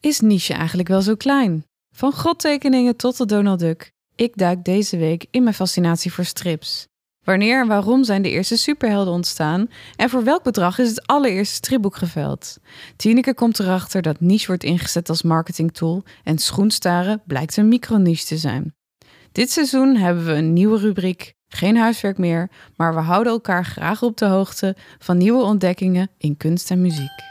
Is niche eigenlijk wel zo klein? Van godtekeningen tot de Donald Duck. Ik duik deze week in mijn fascinatie voor strips. Wanneer en waarom zijn de eerste superhelden ontstaan? En voor welk bedrag is het allereerste stripboek geveld? Tineke komt erachter dat niche wordt ingezet als marketingtool en schoenstaren blijkt een microniche te zijn. Dit seizoen hebben we een nieuwe rubriek, geen huiswerk meer, maar we houden elkaar graag op de hoogte van nieuwe ontdekkingen in kunst en muziek.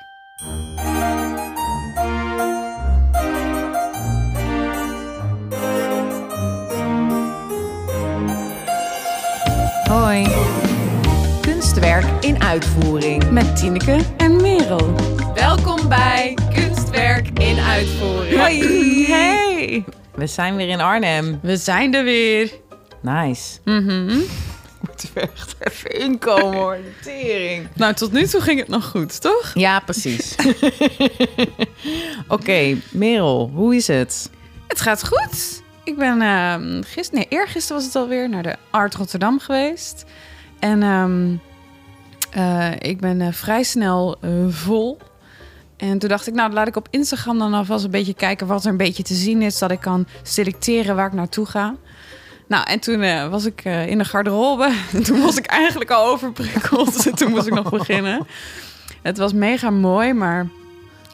Hoi, Kunstwerk in uitvoering. met Tineke en Merel. Welkom bij Kunstwerk in uitvoering. Hoi! Hey! We zijn weer in Arnhem. We zijn er weer. Nice. Moeten we echt even inkomen hoor. De Tering. Nou, tot nu toe ging het nog goed, toch? Ja, precies. Oké, Merel, hoe is het? Het gaat goed. Ik ben ehm gisteren, nee, eergisteren was het alweer, naar de Art Rotterdam geweest. En ehm, eh, ik ben eh, vrij snel eh, vol. En toen dacht ik, nou, laat ik op Instagram dan alvast een beetje kijken wat er een beetje te zien is. Dat ik kan selecteren waar ik naartoe ga. Nou, en toen eh, was ik eh, in de garderobe. En toen was ik eigenlijk al overprikkeld. En toen moest ik nog beginnen. Het was mega mooi, maar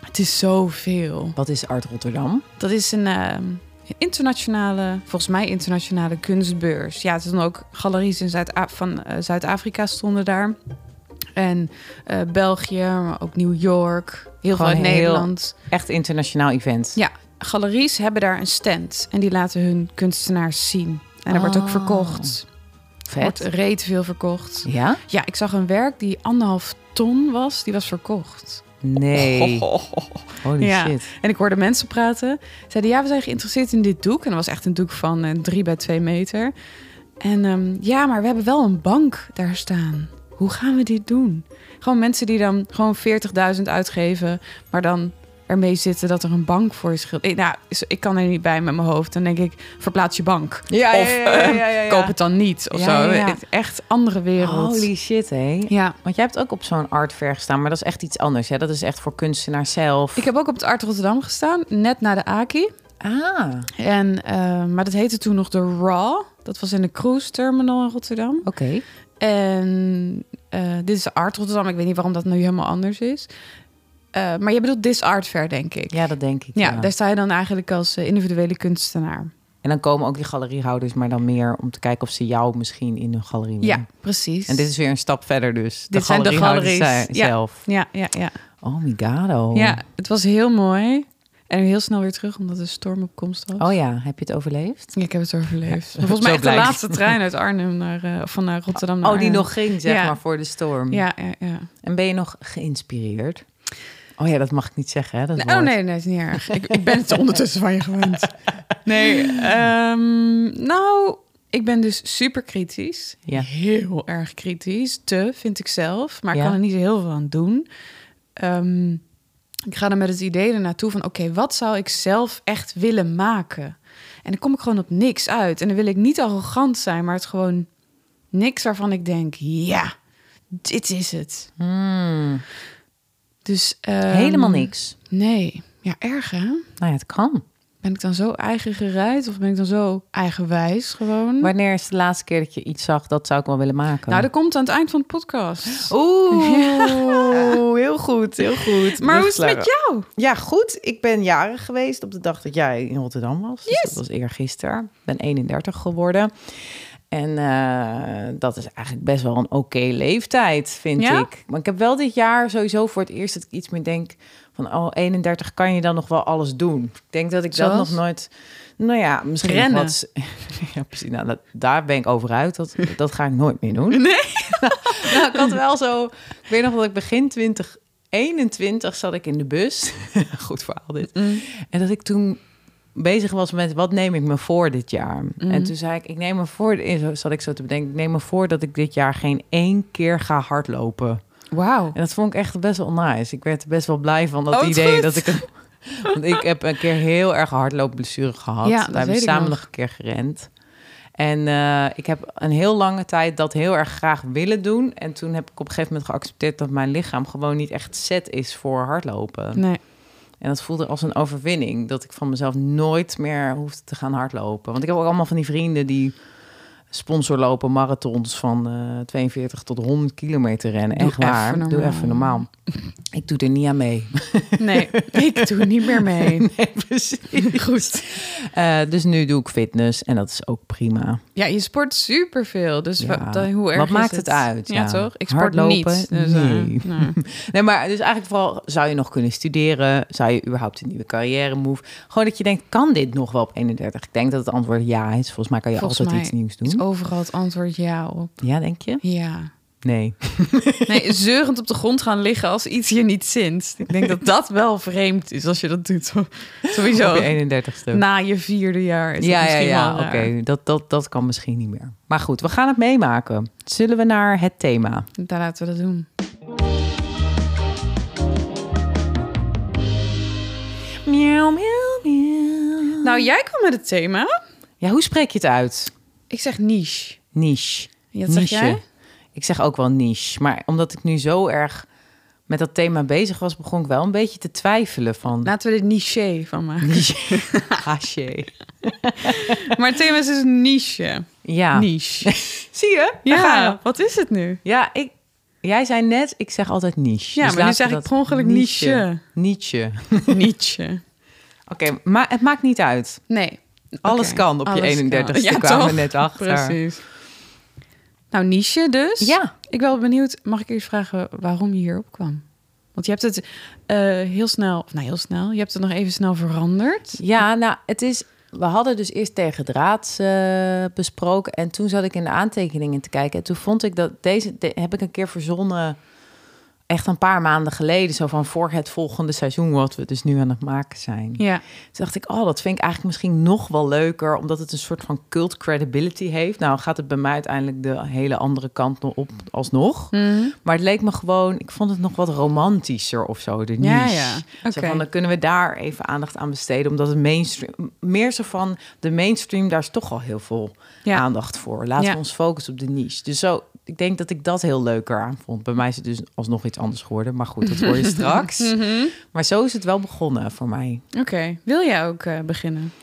het is zoveel. Wat is Art Rotterdam? Dat is een eh, internationale, volgens mij internationale kunstbeurs. Ja, het is dan ook galeries in Zuid van eh, Zuid-Afrika stonden daar. En eh, België, maar ook New York, heel veel Gewoon uit heel- Nederland. Echt internationaal event. Ja, galeries hebben daar een stand en die laten hun kunstenaars zien. En er wordt ook Ah, verkocht. Er wordt Vet. reet veel verkocht. Ja? Ja, ik zag een werk die anderhalf ton was, die was verkocht. Nee. Holy Ja. shit. En ik hoorde mensen praten. Zeiden, ja, we zijn geïnteresseerd in dit doek. En dat was echt een doek van eh, drie bij twee meter. En ehm, ja, maar we hebben wel een bank daar staan. Hoe gaan we dit doen? Gewoon mensen die dan gewoon 40.000 uitgeven, maar dan ermee zitten dat er een bank voor is. gel- Ik, nou, is- ik kan er niet bij met mijn hoofd. Dan denk ik, verplaats je bank. Ja, of ehm, koop het dan niet. Of Ja, zo. ja, ja. Het- Echt andere wereld. Holy shit, hé. Ja. Want jij hebt ook op zo'n art fair gestaan, maar dat is echt iets anders. Hè? Dat is echt voor kunstenaars zelf. Ik heb ook op het Art Rotterdam gestaan, net na de Aki. Ah, oké. En, eh, maar dat heette toen nog de Raw. Dat was in de cruise terminal in Rotterdam. En eh, dit is de Art Rotterdam. Ik weet niet waarom dat nu helemaal anders is. Eh, maar je bedoelt This Art Fair, denk ik. Ja, dat denk ik. Ja, Ja, dus- daar sta je dan eigenlijk als eh, individuele kunstenaar. En dan komen ook die galeriehouders, maar dan meer om te kijken of ze jou misschien in hun galerie willen. Ja, precies. En dit is weer een stap verder dus. De Dit zijn de galeriehouders galeries. zi- Ja. zelf. Ja, ja, ja. Oh my god, oh. ja, het was heel mooi. En heel snel weer terug, omdat de storm op komst was. Oh ja, heb je het overleefd? Ik heb het overleefd. Ja, Volgens zo mij echt de blijkt. laatste trein uit Arnhem naar, eh, of van eh, Rotterdam naar Oh, die Arnhem. nog ging, zeg Ja. maar, voor de storm. Ja, ja, ja. En ben je nog geïnspireerd? Oh ja, dat mag ik niet zeggen, hè? Dat oh woord. nee, nee, is niet erg. Ik, ik ben het ondertussen van je gewend. Nee, ehm, nou, ik ben dus super kritisch. Ja. Heel erg kritisch. Te, vind ik zelf. Maar ik Ja. kan er niet heel veel aan doen. Ehm, ik ga er met het idee er naartoe van... oké, wat zou ik zelf echt willen maken? En dan kom ik gewoon op niks uit. En dan wil ik niet arrogant zijn, maar het gewoon niks waarvan ik denk... ja, dit is het. Hmm, Dus, ehm, helemaal niks. Nee. Ja, erg hè? Nou ja, het kan. Ben ik dan zo eigen gereid of ben ik dan zo eigenwijs gewoon? Wanneer is de laatste keer dat je iets zag, dat zou ik wel willen maken? nou, dat komt aan het eind van de podcast. Oeh, heel goed, heel goed. maar hoe is het met jou? Ja, goed. Ik ben jarig geweest op de dag dat jij in Rotterdam was. Dus dat was eergisteren. Ik ben 31 geworden. En eh, dat is eigenlijk best wel een oké leeftijd, vind Ja? ik. Maar ik heb wel dit jaar sowieso voor het eerst dat ik iets meer denk van... oh, 31 kan je dan nog wel alles doen. Ik denk dat ik dat Zoals? nog nooit... Nou ja, misschien nog Rennen. wat... ja, precies. Nou, dat, daar ben ik over uit. Dat, dat ga ik nooit meer doen. Nou, ik had wel zo... Ik weet nog dat ik begin 2021 zat ik in de bus. Goed verhaal dit. En dat ik toen bezig was met wat neem ik me voor dit jaar. En toen zei ik, ik neem me voor... en zo Zat ik zo te bedenken, ik neem me voor dat ik dit jaar geen één keer ga hardlopen. Wauw. En dat vond ik echt best wel nice. Ik werd er best wel blij van dat Oh, wat idee goed. dat ik... Want ik heb een keer heel erg een hardloopblessure gehad. Ja, dat We hebben weet ik nog. samen nog een keer gerend. En eh, ik heb een heel lange tijd dat heel erg graag willen doen. En toen heb ik op een gegeven moment geaccepteerd dat mijn lichaam gewoon niet echt set is voor hardlopen. Nee. En dat voelde als een overwinning. Dat ik van mezelf nooit meer hoefde te gaan hardlopen. Want ik heb ook allemaal van die vrienden die sponsor lopen marathons van eh, 42 tot 100 kilometer rennen. Doe Echt waar. even Doe normaal. even normaal. Ik doe er niet aan mee. Nee, ik doe niet meer mee. Nee, precies. Goed. Eh, dus nu doe ik fitness en dat is ook prima. Ja, je sport superveel. Dus Ja. wat, dan- hoe erg Wat is maakt het uit? Ja, Ja. toch? Ik sport Hardlopen? niet. Dus, eh, Nee. nou. Nee, maar dus eigenlijk vooral zou je nog kunnen studeren? Zou je überhaupt een nieuwe carrière move? Gewoon dat je denkt, kan dit nog wel op 31? Ik denk dat het antwoord ja is. Volgens mij kan je Volgens altijd mij iets nieuws doen. Is overal het antwoord ja op. Ja, denk je? Ja. Nee. Nee, zeurend op de grond gaan liggen als iets je niet zint. Ik denk dat dat wel vreemd is als je dat doet. Op Sowieso. je 31ste. Na je vierde jaar is ja, dat ja, misschien ja, wel oké. raar. Dat, dat, dat kan misschien niet meer. Maar goed, we gaan het meemaken. Zullen we naar het thema? Daar laten we dat doen. Miauw, miauw, miauw. Nou, jij kwam met het thema. Ja, hoe spreek je het uit? Ik zeg niche. Niche. Ja, dat zeg Niche. jij? Ik zeg ook wel niche. Maar omdat ik nu zo erg met dat thema bezig was, begon ik wel een beetje te twijfelen van... Laten we er niche van maken. niche. Haché. Maar het thema is dus niche. Ja. Niche. Zie je? Daar ga je. Ja, wat is het nu? Ja, ik... Jij zei net, ik zeg altijd niche. Ja, maar Dus nu laten zeg we ik dat per ongeluk niche. Niche. Niche. Oké, maar het maakt niet uit. Nee. Alles Oké, kan op alles je 31ste. kan. Ja, kwamen we toch? net achter. Precies. Nou, niche dus. Ja. Ik ben wel benieuwd, mag ik eerst vragen waarom je hierop kwam? Want je hebt het eh, heel snel, of nou heel snel, je hebt het nog even snel veranderd. Ja, nou, het is. We hadden dus eerst tegen draad eh, besproken. En toen zat ik in de aantekeningen te kijken. En toen vond ik dat deze. de- heb ik een keer verzonnen. Echt een paar maanden geleden. Zo van voor het volgende seizoen. Wat we dus nu aan het maken zijn. Ja. Toen dacht ik, oh, dat vind ik eigenlijk misschien nog wel leuker, omdat het een soort van cult credibility heeft. Nou gaat het bij mij uiteindelijk de hele andere kant nog op alsnog. Mhm. Maar het leek me gewoon, ik vond het nog wat romantischer of zo, de niche. Ja, ja. Zo Oké. van, dan kunnen we daar even aandacht aan besteden, omdat het mainstream, meer zo van, de mainstream, daar is toch al heel veel Ja. aandacht voor. Laten Ja. we ons focussen op de niche. Dus zo, ik denk dat ik dat heel leuker aan vond. Bij mij is het dus alsnog iets anders geworden, maar goed, dat hoor je Mhm. straks. Maar zo is het wel begonnen voor mij. Oké, wil jij ook eh, beginnen?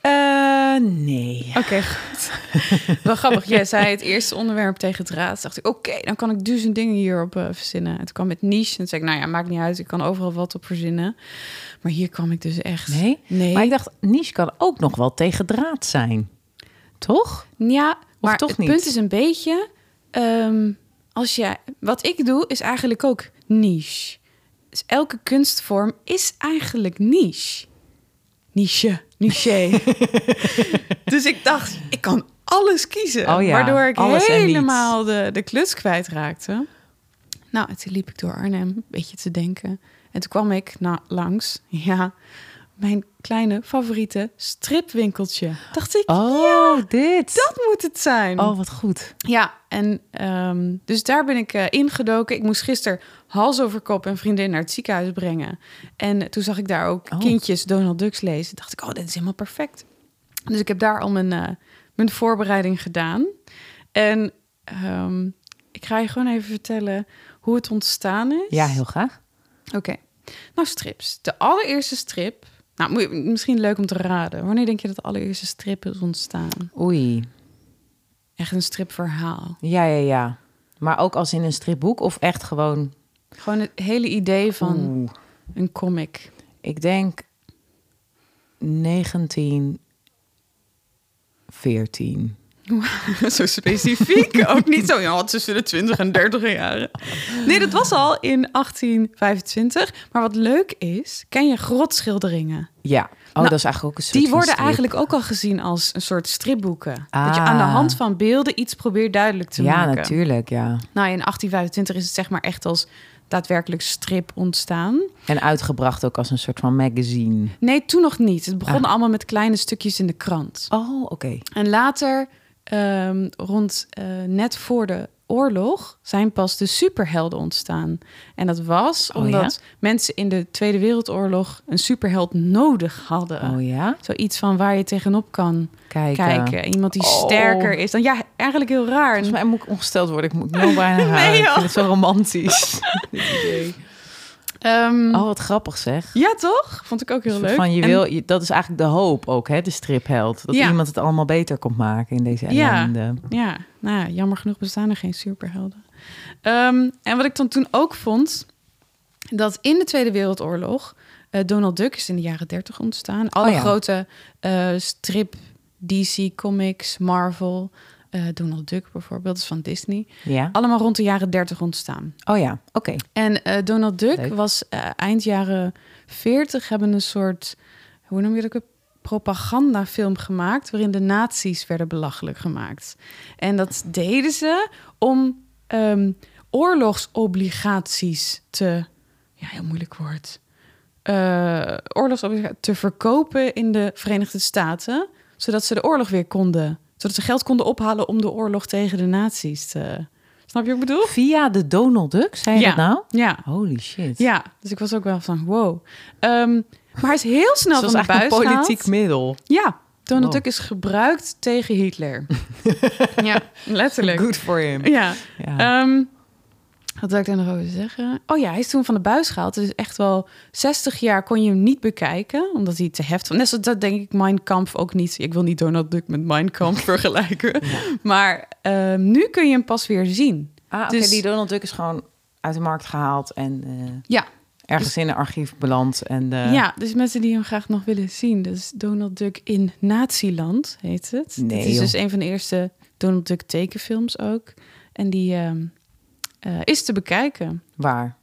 Eh, nee. Oké, goed. Wel grappig, jij zei het eerste onderwerp tegen draad. Dacht ik, oké, dan kan ik duizend dingen hierop eh, verzinnen. En toen kwam het niche en toen zei ik, nou ja, maakt niet uit, ik kan overal wat op verzinnen. Maar hier kwam ik dus echt... Nee? Nee. Maar ik dacht, niche kan ook nog wel tegen draad zijn. Toch? Ja, maar toch het niet? punt is een beetje... ehm, als je, wat ik doe is eigenlijk ook niche. Dus elke kunstvorm is eigenlijk niche. Niche, niche. dus ik dacht, ik kan alles kiezen. Oh ja, waardoor ik alles en niets. helemaal de, de klus kwijtraakte. Nou, en toen liep ik door Arnhem een beetje te denken. En toen kwam ik na, langs, ja, mijn kleine favoriete stripwinkeltje. Dacht ik, Oh, dit. dat moet het zijn. Oh, wat goed. Ja, en ehm, dus daar ben ik eh, ingedoken. Ik moest gisteren hals over kop een vriendin naar het ziekenhuis brengen. En toen zag ik daar ook Oh. kindjes Donald Ducks lezen. Dacht ik, oh, dit is helemaal perfect. Dus ik heb daar al mijn, eh, mijn voorbereiding gedaan. En ehm, ik ga je gewoon even vertellen hoe het ontstaan is. Ja, heel graag. Oké. Nou, strips. De allereerste strip. Nou, moet je- misschien leuk om te raden. Wanneer denk je dat de allereerste strip is ontstaan? Oei. Echt een stripverhaal. Ja, ja, ja. Maar ook als in een stripboek of echt gewoon... Gewoon het hele idee van Oeh. een comic. Ik denk 1914. zo specifiek. Ook niet zo ja, tussen de 20 en 30 jaren. Nee, dat was al in 1825. Maar wat leuk is, ken je grotschilderingen? Ja. Oh, Nou, dat is eigenlijk ook een soort Die van worden strip. eigenlijk ook al gezien als een soort stripboeken. Dat je Ah. aan de hand van beelden iets probeert duidelijk te ja, maken. natuurlijk, ja. Nou, in 1825 is het zeg maar echt als daadwerkelijk strip ontstaan. En uitgebracht ook als een soort van magazine. Nee, toen nog niet. Het begon Ah. allemaal met kleine stukjes in de krant. Oh, oké. En later, ehm, rond eh, net voor de oorlog, zijn pas de superhelden ontstaan. En dat was Oh, omdat mensen in de Tweede Wereldoorlog een superheld nodig hadden. Oh ja? Zoiets van waar je tegenop kan Kijken. kijken. Iemand die Oh. sterker is dan. Ja, eigenlijk heel raar. Volgens mij moet ik ongesteld worden. Ik moet nou bijna huilen. joh. Ik vind het zo romantisch. Ehm, Oh, wat grappig zeg. Ja, toch? Vond ik ook heel Een soort leuk. Van je En- wil, je- dat is eigenlijk de hoop ook, hè, de stripheld. Dat Ja. iemand het allemaal beter komt maken in deze Ja. ellende. Ja, nou, ja, jammer genoeg bestaan er geen superhelden. Ehm, en wat ik dan toen ook vond, dat in de Tweede Wereldoorlog eh, Donald Duck is in de jaren 30 ontstaan. Alle Oh ja. grote eh, strip, DC Comics, Marvel, eh, Donald Duck bijvoorbeeld, is van Disney. Ja. Allemaal rond de jaren 30 ontstaan. Oh ja, oké. En eh, Donald Duck Leuk. was eh, eind jaren 40 hebben een soort, hoe noem je dat ook? weer? propagandafilm gemaakt waarin de nazi's werden belachelijk gemaakt. En dat deden ze om ehm, oorlogsobligaties te... Ja, heel moeilijk woord. Eh oorlogsobligaties te verkopen in de Verenigde Staten... zodat ze de oorlog weer konden... zodat ze geld konden ophalen om de oorlog tegen de nazi's te... Snap je wat ik bedoel? Via de Donald Duck, zei je Ja. dat nou? Ja, Holy shit. ja, dus ik was ook wel van wow. Ehm, maar hij is heel snel dat was van de eigenlijk buis een politiek gehaald. middel. Ja, Donald Wow. Duck is gebruikt tegen Hitler. ja, letterlijk. Good for him. Ja. Ja. Ehm, wat wil ik daar nog over zeggen? Oh ja, hij is toen van de buis gehaald. Dus echt wel 60 jaar kon je hem niet bekijken, omdat hij te heftig was. Net zoals dat denk ik Mein Kampf ook niet. Ik wil niet Donald Duck met Mein Kampf vergelijken. Maar ehm, nu kun je hem pas weer zien. Ah, oké, dus- die Donald Duck is gewoon uit de markt gehaald en eh, Ja, ergens in een archief beland. En, eh, Dus- Ja, dus mensen die hem graag nog willen zien. Dus Donald Duck in Naziland heet het. Nee, Dit is joh. dus een van de eerste Donald Duck tekenfilms ook. En die ehm, eh, is te bekijken. Waar?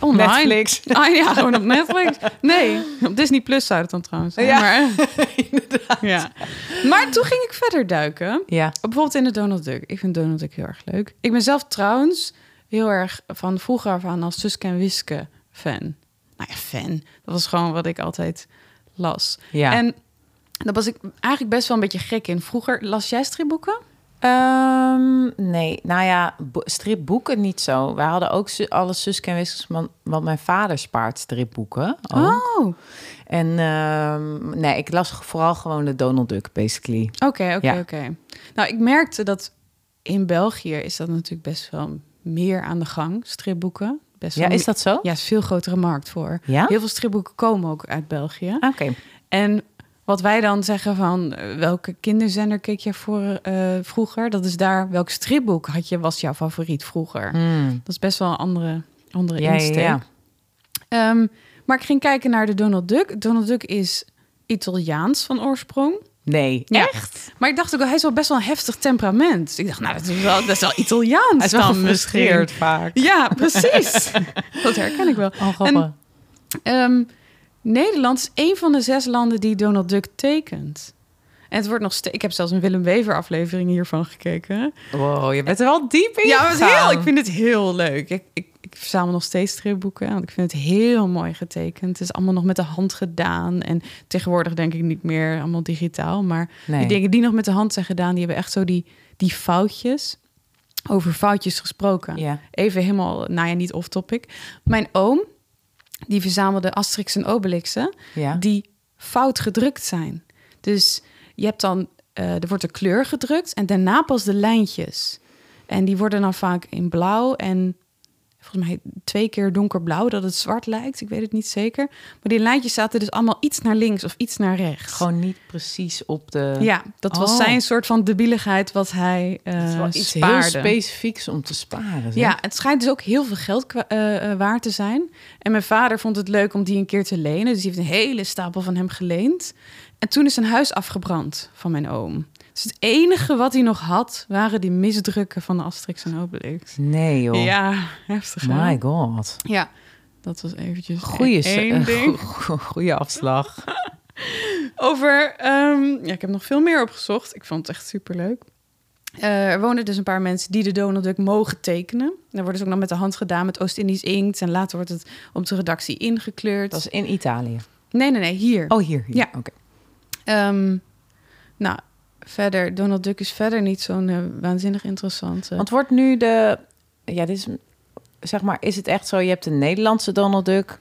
Online. Netflix. Ah ja, gewoon op Netflix. Nee, op Disney Plus zou het dan trouwens zijn. Ja, maar, eh, ja. maar toen ging ik verder duiken. Ja. Bijvoorbeeld in de Donald Duck. Ik vind Donald Duck heel erg leuk. Ik ben zelf trouwens heel erg van vroeger af aan als Suske en Wiske fan. Nou ja, fan. Dat was gewoon wat ik altijd las. Ja. En daar was ik eigenlijk best wel een beetje gek in. Vroeger las jij stripboeken? Ehm, nee, nou ja, bo- stripboeken niet zo. Wij hadden ook su- alle Suske en Wiskes, man- want mijn vader spaart stripboeken. ook. Oh, En ehm, nee, ik las vooral gewoon de Donald Duck, basically. oké, oké, Ja. oké. Nou, ik merkte dat in België is dat natuurlijk best wel meer aan de gang, stripboeken. Best Ja, wel is dat zo? Ja, is veel grotere markt voor. Ja? Heel veel stripboeken komen ook uit België. Ah, Oké. En wat wij dan zeggen van eh, welke kinderzender keek je voor, eh, vroeger? Dat is daar welk stripboek had je was jouw favoriet vroeger. Hmm. Dat is best wel een andere, andere Ja, ja, insteek. ja. Ehm, maar ik ging kijken naar de Donald Duck. Donald Duck is Italiaans van oorsprong. Nee, Ja. echt? Maar ik dacht ook wel, hij is wel best wel een heftig temperament. Dus ik dacht, nou, dat is wel, dat is wel Italiaans Hij is wel dan gefrustreerd vaak. misschien. Ja, precies. dat herken ik wel. Oh, grappig. En- Ehm, Nederland is één van de zes landen die Donald Duck tekent. En het wordt nog steeds. Ik heb zelfs een Willem Wever aflevering hiervan gekeken. Wow, je bent er wel diep in Ja, maar het is gegaan. heel, ik vind het heel leuk. Ik, ik, ik verzamel nog steeds stripboeken. Want ik vind het heel mooi getekend. Het is allemaal nog met de hand gedaan. En tegenwoordig denk ik niet meer allemaal digitaal. Maar Nee. die dingen die nog met de hand zijn gedaan, die hebben echt zo die, die foutjes. Over foutjes gesproken. Ja. Even helemaal, nou ja, niet off-topic. Mijn oom, die verzamelde Asterix en Obelixen, Ja. die fout gedrukt zijn. Dus je hebt dan, eh, er wordt de kleur gedrukt en daarna pas de lijntjes. En die worden dan vaak in blauw en volgens mij twee keer donkerblauw, dat het zwart lijkt. Ik weet het niet zeker. Maar die lijntjes zaten dus allemaal iets naar links of iets naar rechts. Gewoon niet precies op de... Ja, dat was Oh. zijn soort van debieligheid wat hij eh Het is wel iets heel spaarde. specifieks om te sparen. zeg. Ja, het schijnt dus ook heel veel geld kwa- eh, eh, waard te zijn. En mijn vader vond het leuk om die een keer te lenen. Dus die heeft een hele stapel van hem geleend. En toen is zijn huis afgebrand van mijn oom. Dus het enige wat hij nog had, waren die misdrukken van de Asterix en Obelix. Nee, joh. Ja, heftig. hè? My god. Ja, dat was eventjes Goeie, e- één eh, ding. go- goeie afslag. Over, ehm, ja, ik heb nog veel meer opgezocht. Ik vond het echt superleuk. Eh er wonen dus een paar mensen die de Donald Duck mogen tekenen. Daar wordt dus ook nog met de hand gedaan met Oost-Indisch inkt. En later wordt het op de redactie ingekleurd. Dat is in Italië. Nee, nee, nee, hier. Oh, hier. hier. Ja. Oké. Ehm, nou, verder. Donald Duck is verder niet zo'n eh, waanzinnig interessante. Want wordt nu de... Ja, dit is... Zeg maar, is het echt zo, je hebt een Nederlandse Donald Duck...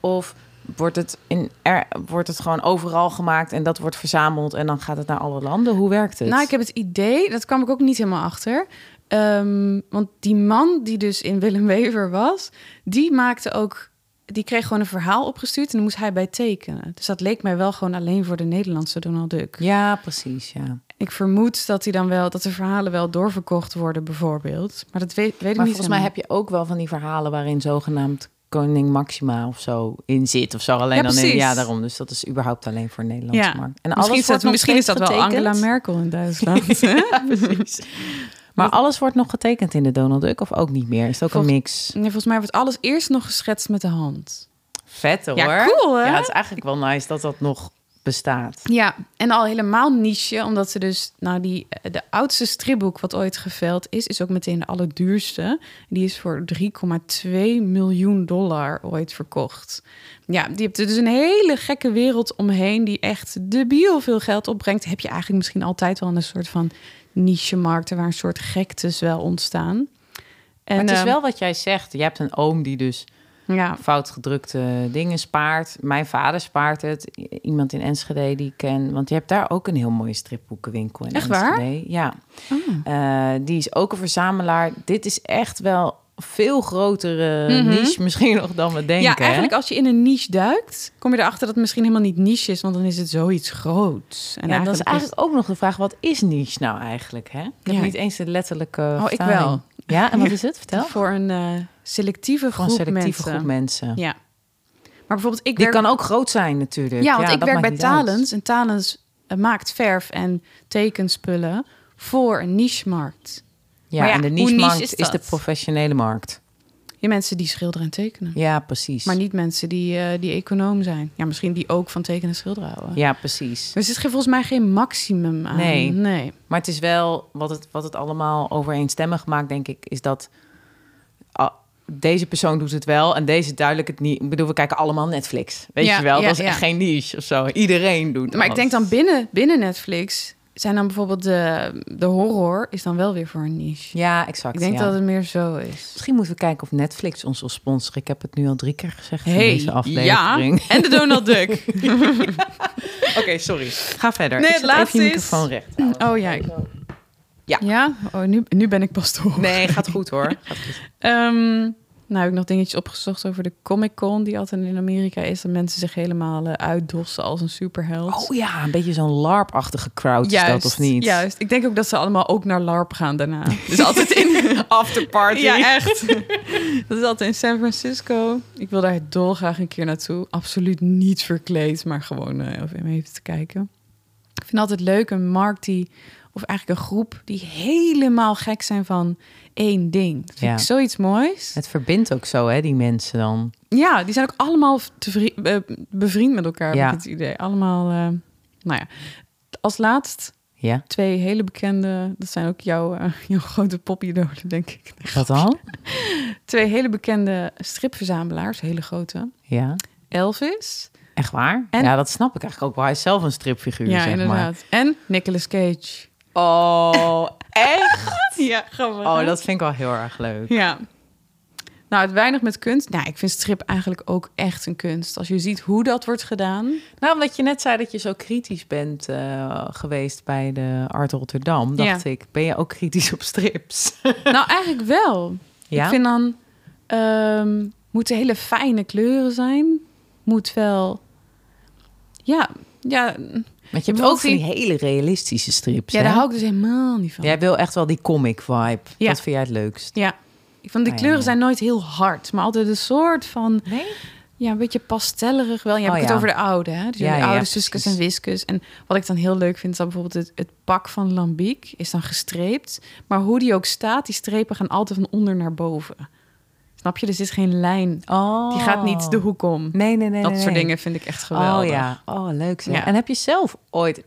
of wordt het, in, er, wordt het gewoon overal gemaakt... en dat wordt verzameld en dan gaat het naar alle landen? Hoe werkt het? Nou, ik heb het idee, dat kwam ik ook niet helemaal achter. Ehm, want die man die dus in Willem Wever was, die maakte ook die kreeg gewoon een verhaal opgestuurd en dan moest hij bij tekenen. Dus dat leek mij wel gewoon alleen voor de Nederlandse Donald Duck. Ja, precies, ja. Ik vermoed dat, hij dan wel, dat de verhalen wel doorverkocht worden, bijvoorbeeld. Maar dat weet, weet ik niet. eh, Maar volgens mij heb je ook wel van die verhalen waarin zogenaamd koning Maxima of zo in zit of zo. Alleen Ja, dan in, precies. ja, daarom. Dus dat is überhaupt alleen voor de Nederlandse ja. markt. En alles misschien is dat, wordt nog misschien is steeds dat wel getekend. Angela Merkel in Duitsland. hè? Precies. Maar alles wordt nog getekend in de Donald Duck of ook niet meer? Is het ook Volgens- een mix? Nee, volgens mij wordt alles eerst nog geschetst met de hand. Vet hoor. Ja, cool, hè? Ja, het is eigenlijk wel nice dat dat nog bestaat. Ja, en al helemaal niche, omdat ze dus, nou, die, eh, de oudste stripboek wat ooit geveld is, is ook meteen de allerduurste. Die is voor 3,2 miljoen dollar ooit verkocht. Ja, die hebt er dus een hele gekke wereld omheen die echt debiel veel geld opbrengt. Heb je eigenlijk misschien altijd wel in een soort van niche-markten waar een soort gektes wel ontstaan. En maar het is ehm, wel wat jij zegt. Je hebt een oom die dus ja, fout gedrukte dingen spaart. Mijn vader spaart het. I- Iemand in Enschede die ik ken. Want je hebt daar ook een heel mooie stripboekenwinkel in Echt waar? Enschede. Ja. Eh, die is ook een verzamelaar. Dit is echt wel een veel grotere niche misschien nog dan we denken. Mhm. ja, hè? eigenlijk als je in een niche duikt, kom je erachter dat het misschien helemaal niet niche is, want dan is het zoiets groots. En En ja, dat is eigenlijk eigenlijk ook nog de vraag, wat is niche nou eigenlijk? Hè? Ik heb Ja. niet eens de letterlijke Oh, ik vertaling. wel. Ja, en wat is het? Vertel. Voor een eh, selectieve Gewoon groep selectieve mensen. groep mensen. Ja. Maar bijvoorbeeld, ik Die werk... kan ook groot zijn natuurlijk. ja, want ik dat werk bij maakt niet uit. Talens. En Talens eh, maakt verf en tekenspullen voor een niche-markt. Ja, Maar ja, en de hoe niche-markt niche is, is de dat? professionele markt. Je mensen die schilderen en tekenen. Ja, precies. Maar niet mensen die, eh, die econoom zijn. Ja, misschien die ook van tekenen en schilderen houden. Ja, precies. Dus er zit volgens mij geen maximum aan. Nee. nee. Maar het is wel, wat het, wat het allemaal overeenstemmig maakt, denk ik, is dat ah, deze persoon doet het wel en deze duidelijk het niet. Ik bedoel, we kijken allemaal Netflix. Weet Ja, je wel, ja, dat ja. is echt geen niche of zo. Iedereen doet Maar ik dat. denk dan binnen, binnen Netflix zijn dan bijvoorbeeld de, de horror is dan wel weer voor een niche. Ja, exact. ik denk ja. dat het meer zo is. Misschien moeten we kijken of Netflix ons wil sponsoren. Ik heb het nu al drie keer gezegd in Hey, deze aflevering. Ja, en de Donald Duck. Oké, sorry. Ga verder. Nee, ik het zet even laatste je is- microfoon recht. Oh ja. ik- Ja. Ja? Oh, nu, nu ben ik pas te horen. Nee, gaat goed hoor. Gaat goed. Ehm, nou, heb ik nog dingetjes opgezocht over de Comic-Con die altijd in Amerika is. Dat mensen zich helemaal eh, uitdossen als een superheld. Oh ja, een beetje zo'n LARP-achtige crowd is dat of niet? Juist. Ik denk ook dat ze allemaal ook naar LARP gaan daarna. Dus altijd in... Afterparty. ja, echt. dat is altijd in San Francisco. Ik wil daar dolgraag een keer naartoe. Absoluut niet verkleed, maar gewoon eh, om even te kijken. Ik vind altijd leuk een markt die... Of eigenlijk een groep die helemaal gek zijn van één ding. Dat vind Ja. ik zoiets moois. Het verbindt ook zo, hè, die mensen dan. Ja, die zijn ook allemaal tevri- eh, bevriend met elkaar, heb Ja. ik het idee. Allemaal, eh, nou ja. Als laatst Ja, twee hele bekende, dat zijn ook jouw, eh, jouw grote popidolen, denk ik. wat dan? Twee hele bekende stripverzamelaars, hele grote. Ja, Elvis. echt waar? En- Ja, dat snap ik eigenlijk ook wel. Hij is zelf een stripfiguur, ja, zeg inderdaad. En Nicolas Cage. maar. Oh, echt? Ja, grappig. Oh, dat vind ik wel heel erg leuk. Ja. Nou, het weinig met kunst. Nou, ik vind strip eigenlijk ook echt een kunst. Als je ziet hoe dat wordt gedaan. Nou, omdat je net zei dat je zo kritisch bent eh, geweest bij de Art Rotterdam, dacht Ja. ik, ben je ook kritisch op strips? nou, eigenlijk wel. ja? Ik vind dan, ehm moeten hele fijne kleuren zijn. Moet wel, ja, ja, Want je hebt wil ook van die zien- hele realistische strips, ja hè? daar hou ik dus helemaal niet van. Jij wil echt wel die comic vibe. Ja. Dat vind jij het leukst. Ja, ik vond die Ah, ja. kleuren zijn nooit heel hard, maar altijd een soort van, Nee? ja, een beetje pastellerig wel. Ja, Oh, heb ik het ja. over de oude, hè? Dus Ja, de ja, oude ja, Suskus en precies. Wiskus. En wat ik dan heel leuk vind, is dan bijvoorbeeld het, het pak van Lambiek is dan gestreept, maar hoe die ook staat, die strepen gaan altijd van onder naar boven. Snap je? Dus Er zit geen lijn. Oh. Die gaat niet de hoek om. Nee, nee, nee. dat nee, soort nee. dingen vind ik echt geweldig. Oh ja, oh leuk. zeg. Ja. En heb je zelf ooit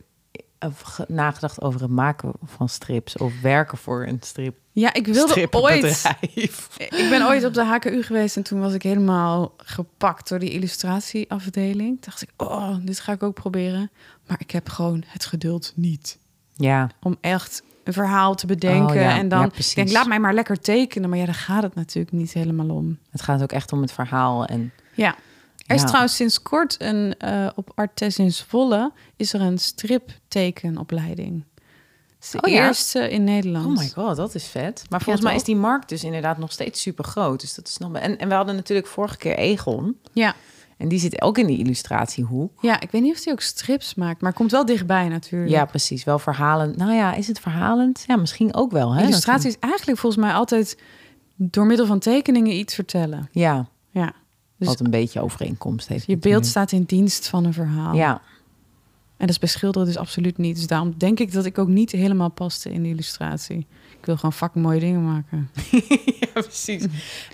eh, ge- nagedacht over het maken van strips of werken voor een strip? Ja, ik wilde ooit. stripbedrijf? Ik ben ooit op de HKU geweest en toen was ik helemaal gepakt door die illustratieafdeling. Toen dacht ik, oh, dit ga ik ook proberen. Maar ik heb gewoon het geduld niet Ja, om echt een verhaal te bedenken. Oh, ja. En dan Ja, ik precies. denk laat mij maar lekker tekenen. Maar ja, daar gaat het natuurlijk niet helemaal om. het gaat ook echt om het verhaal en Ja. Er is Ja. trouwens sinds kort een, eh, op Artes in Zwolle is er een striptekenopleiding. Het is de Oh ja? eerste in Nederland. Oh my god, dat is vet. Maar Ja, volgens mij toch? is die markt dus inderdaad nog steeds super groot. Dus dat is nog... en, en we hadden natuurlijk vorige keer Egon. Ja. En die zit ook in die illustratiehoek. ja, ik weet niet of hij ook strips maakt, maar komt wel dichtbij natuurlijk. Ja, precies. Wel verhalend. Nou ja, is het verhalend? Ja, misschien ook wel. Hè? Illustratie is eigenlijk volgens mij altijd door middel van tekeningen iets vertellen. Ja, Ja. Dus wat een beetje overeenkomst heeft. je beeld staat in dienst van een verhaal. Ja, En dat is bij schilderen dus absoluut niet. Dus daarom denk ik dat ik ook niet helemaal paste in de illustratie. Ik wil gewoon fucking mooie dingen maken. Ja, precies.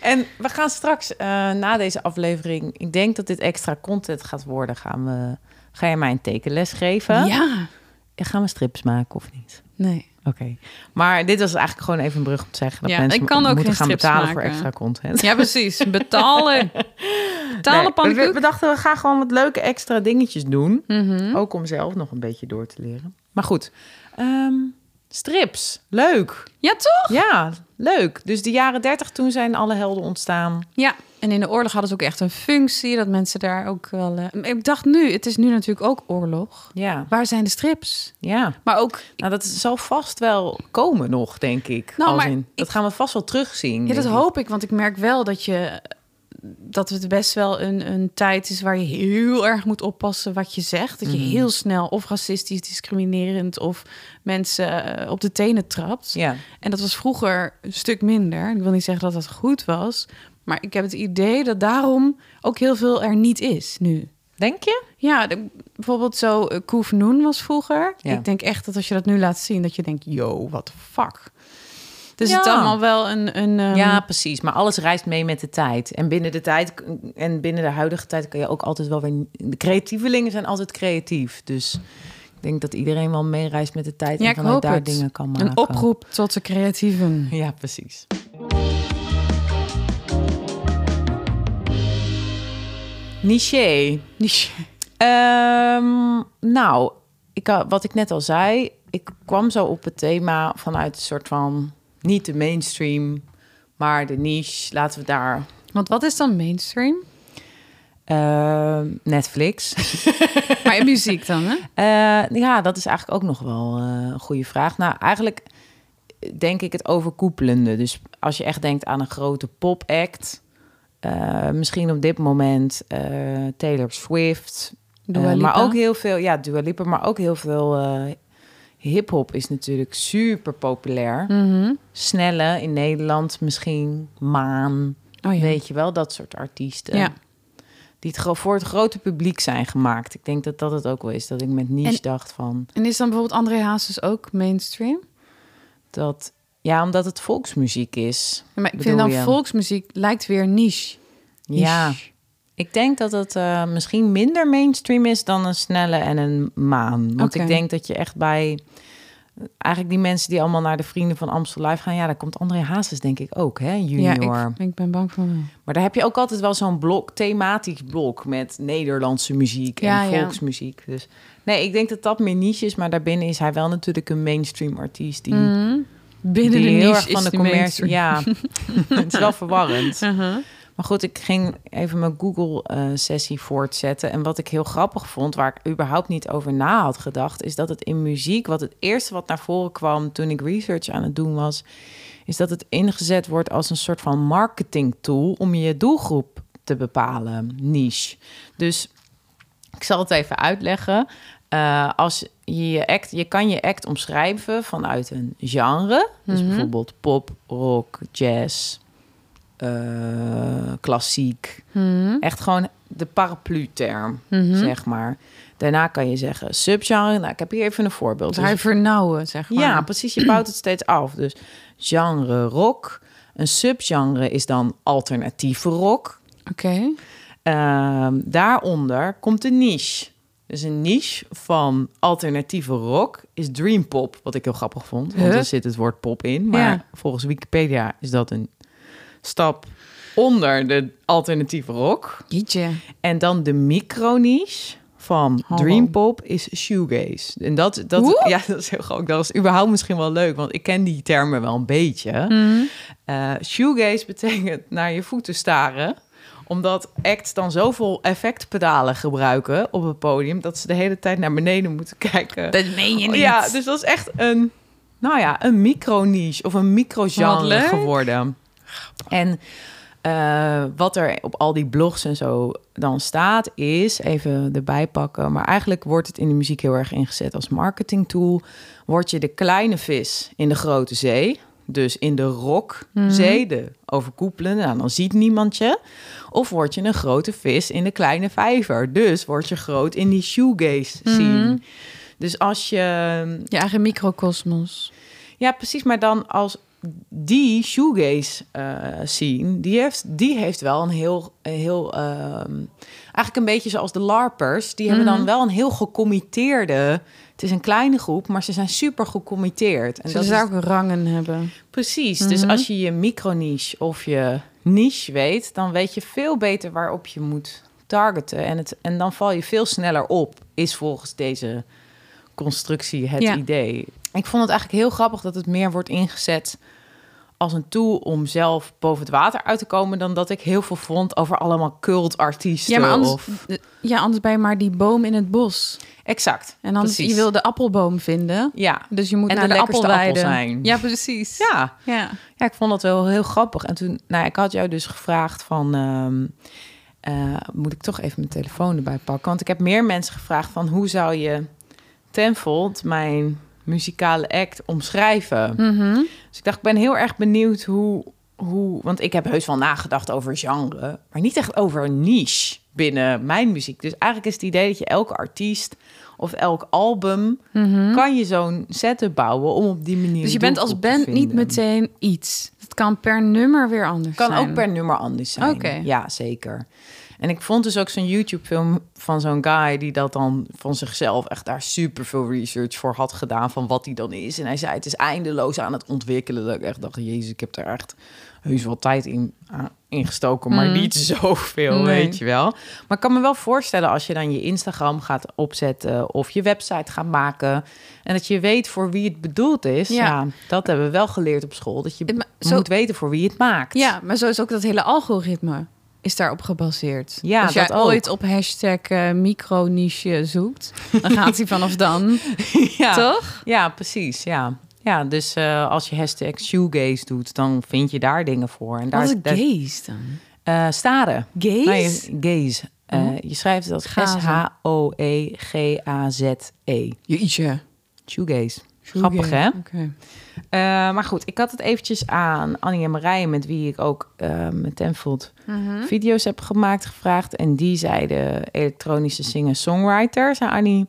En we gaan straks eh, na deze aflevering, ik denk dat dit extra content gaat worden, gaan we, ga jij mij een tekenles geven? Ja. En gaan we strips maken of niet? Nee. Oké. Maar dit was eigenlijk gewoon even een brug om te zeggen dat Ja, mensen ik kan mo- ook moeten geen gaan strips betalen voor maken. extra content. Ja, precies. Betalen. Betalen, Nee, we, pannenkoek. we dachten, we gaan gewoon wat leuke extra dingetjes doen. Mhm. Ook om zelf nog een beetje door te leren. Maar goed, ehm, strips. Leuk. Ja, toch? Ja, leuk. Dus de jaren dertig, toen zijn alle helden ontstaan. Ja, en in de oorlog hadden ze ook echt een functie. Dat mensen daar ook wel... eh, Ik dacht nu, het is nu natuurlijk ook oorlog. Ja, Waar zijn de strips? ja. Maar ook... Nou, dat zal vast wel komen nog, denk ik. Nou, Als maar in, dat ik- gaan we vast wel terugzien. Ja, dat denk ik. hoop ik. Want ik merk wel dat je... Dat het best wel een, een tijd is waar je heel erg moet oppassen wat je zegt. Dat je Mhm. heel snel of racistisch, discriminerend of mensen eh, op de tenen trapt. Ja, En dat was vroeger een stuk minder. Ik wil niet zeggen dat dat goed was. Maar ik heb het idee dat daarom ook heel veel er niet is nu. denk je? Ja, de- bijvoorbeeld zo eh, Koef Noen was vroeger. Ja. Ik denk echt dat als je dat nu laat zien, dat je denkt, yo, what the fuck. Dus Ja. het is allemaal wel een... een ehm, Ja, precies. Maar alles reist mee met de tijd. En binnen de tijd en binnen de huidige tijd kan je ook altijd wel weer. De creatievelingen zijn altijd creatief. Dus ik denk dat iedereen wel meereist met de tijd Ja, en ik vanuit hoop daar het. dingen kan maken. een oproep tot de creatieven. Ja, precies. Niché. Ehm, nou, ik, had- wat ik net al zei, ik kwam zo op het thema vanuit een soort van niet de mainstream, maar de niche. Laten we daar Want wat is dan mainstream? ehm, Netflix. Maar in muziek dan, hè? Eh, ja, dat is eigenlijk ook nog wel eh, een goede vraag. Nou, eigenlijk denk ik het overkoepelende. Dus als je echt denkt aan een grote pop-act, eh, misschien op dit moment eh, Taylor Swift, Dua Eh, maar Lipa. ook heel veel, ja, Dua Lipa, maar ook heel veel eh, hip-hop is natuurlijk super populair. Mhm. Snelle in Nederland misschien, Maan, Oh ja. weet je wel, dat soort artiesten. Ja. Die het gro- voor het grote publiek zijn gemaakt. Ik denk dat dat het ook wel is. Dat ik met niche En- dacht van En is dan bijvoorbeeld André Hazes ook mainstream? dat. Ja, omdat het volksmuziek is. Ja, maar ik Bedoel vind dan je? volksmuziek lijkt weer niche. Ja. Niche. Ik denk dat het eh, misschien minder mainstream is dan een snelle en een maan. Want ik Oké. denk dat je echt bij. eh, Eigenlijk die mensen die allemaal naar de Vrienden van Amstel Live gaan. Ja, daar komt André Hazes denk ik ook, hè? Junior. Ja, ik, ik ben bang van wel. Maar daar heb je ook altijd wel zo'n blok, thematisch blok met Nederlandse muziek en Ja, ja. volksmuziek. Dus nee, ik denk dat dat meer niche is, maar daarbinnen is hij wel natuurlijk een mainstream artiest die, Mhm. die Binnen de heel niche erg van is de die commercie. mainstream. Ja, het is wel verwarrend. Uh-huh. Maar goed, ik ging even mijn Google-sessie voortzetten. En wat ik heel grappig vond, waar ik überhaupt niet over na had gedacht, is dat het in muziek, wat het eerste wat naar voren kwam toen ik research aan het doen was, is dat het ingezet wordt als een soort van marketingtool om je doelgroep te bepalen, niche. Dus ik zal het even uitleggen. Eh, als je, je, act, je kan je act omschrijven vanuit een genre. Dus bijvoorbeeld pop, rock, jazz, eh, klassiek. Mhm. Echt gewoon de paraplu-term, Mhm. zeg maar. Daarna kan je zeggen subgenre. Nou, ik heb hier even een voorbeeld. Dus hij vernauwen, zeg maar. Ja, precies. Je bouwt het steeds af. Dus genre rock. Een subgenre is dan alternatieve rock. Oké. Ehm, daaronder komt een niche. Dus een niche van alternatieve rock is dreampop, wat ik heel grappig vond. Want Huh? er zit het woord pop in, maar Ja. volgens Wikipedia is dat een stap onder de alternatieve rock. Jeetje. En dan de micro-niche van Hallo. Dreampop is shoegaze. En dat, dat, Hoe? ja, dat is heel grappig. Dat is überhaupt misschien wel leuk, want ik ken die termen wel een beetje. Eh, shoegaze betekent naar je voeten staren omdat acts dan zoveel effectpedalen gebruiken op het podium... dat ze de hele tijd naar beneden moeten kijken. Dat meen je niet. Ja, dus dat is echt een nou ja, een micro-niche of een Wat micro-genre leuk. geworden. En eh, wat er op al die blogs en zo dan staat, is even erbij pakken. Maar eigenlijk wordt het in de muziek heel erg ingezet als marketingtool. Word je de kleine vis in de grote zee. Dus in de Mhm. rockzee, de overkoepelende, nou, dan ziet niemand je. Of word je een grote vis in de kleine vijver. Dus word je groot in die shoegaze Mhm. scene. Dus als je Je eigen microcosmos. ja, precies. Maar dan als die shoegaze eh scene, die heeft, die heeft wel een heel, een heel ehm, eigenlijk een beetje zoals de larpers. Die hebben dan wel een heel gecommitteerde. Het is een kleine groep, maar ze zijn super gecommitteerd. En Ze dat is zou ook rangen hebben. precies. Mhm. Dus als je je micro-niche of je niche weet, dan weet je veel beter waarop je moet targeten. En, het, en dan val je veel sneller op, is volgens deze constructie het Ja. idee. Ik vond het eigenlijk heel grappig dat het meer wordt ingezet als een tool om zelf boven het water uit te komen, dan dat ik heel veel vond over allemaal cultartiesten. Ja, maar anders, of... ja, anders ben je maar die boom in het bos. Exact. En anders, Precies. je wil de appelboom vinden. Ja. Dus je moet En naar de de, lekkerste appel appelweide. zijn. Ja, precies. Ja. ja. Ja, ik vond dat wel heel grappig. En toen, nou, ja, ik had jou dus gevraagd van, ehm, eh, moet ik toch even mijn telefoon erbij pakken? Want ik heb meer mensen gevraagd van, hoe zou je Tenfold, mijn muzikale act, omschrijven? Hm. Dus ik dacht, ik ben heel erg benieuwd hoe, hoe, want ik heb heus wel nagedacht over genre, maar niet echt over een niche binnen mijn muziek. Dus eigenlijk is het idee dat je elke artiest of elk album kan je zo'n setup bouwen om op die manier. Mhm. Dus je een bent als doelgroep te band niet vinden. meteen iets. Het kan per nummer weer anders Kan zijn. ook per nummer anders zijn. Oké. Ja, zeker. En ik vond dus ook zo'n YouTube-film van zo'n guy die dat dan van zichzelf echt daar super veel research voor had gedaan van wat hij dan is. En hij zei: Het is eindeloos aan het ontwikkelen. Dat ik echt dacht: Jezus, ik heb daar echt heus wel tijd in aan- ingestoken, maar niet zoveel, Mm. Nee. weet je wel. Maar ik kan me wel voorstellen als je dan je Instagram gaat opzetten of je website gaat maken en dat je weet voor wie het bedoeld is. Ja, Ja. dat hebben we wel geleerd op school. Dat je Het ma- zo- moet weten voor wie het maakt. Ja, maar zo is ook dat hele algoritme is daarop gebaseerd. Ja, Als jij dat ook. ooit op hashtag eh, micro-niche zoekt, dan gaat hij vanaf dan, ja. toch? Ja, precies. Ja, ja dus eh, als je hashtag shoegaze doet, dan vind je daar dingen voor. En daar Wat is dat- gaze dan? eh, staren. Gaze? Oh. Nee, gaze. Eh, je schrijft dat Gazen. E S-H-O-E-G-A-Z-E. Jeetje. Shoegaze. Grappig, hè? Oké. Eh, maar goed, ik had het eventjes aan Annie en Marije, met wie ik ook eh, met Tenfold video's heb gemaakt, gevraagd. En die zeiden elektronische singer-songwriter, zei Annie.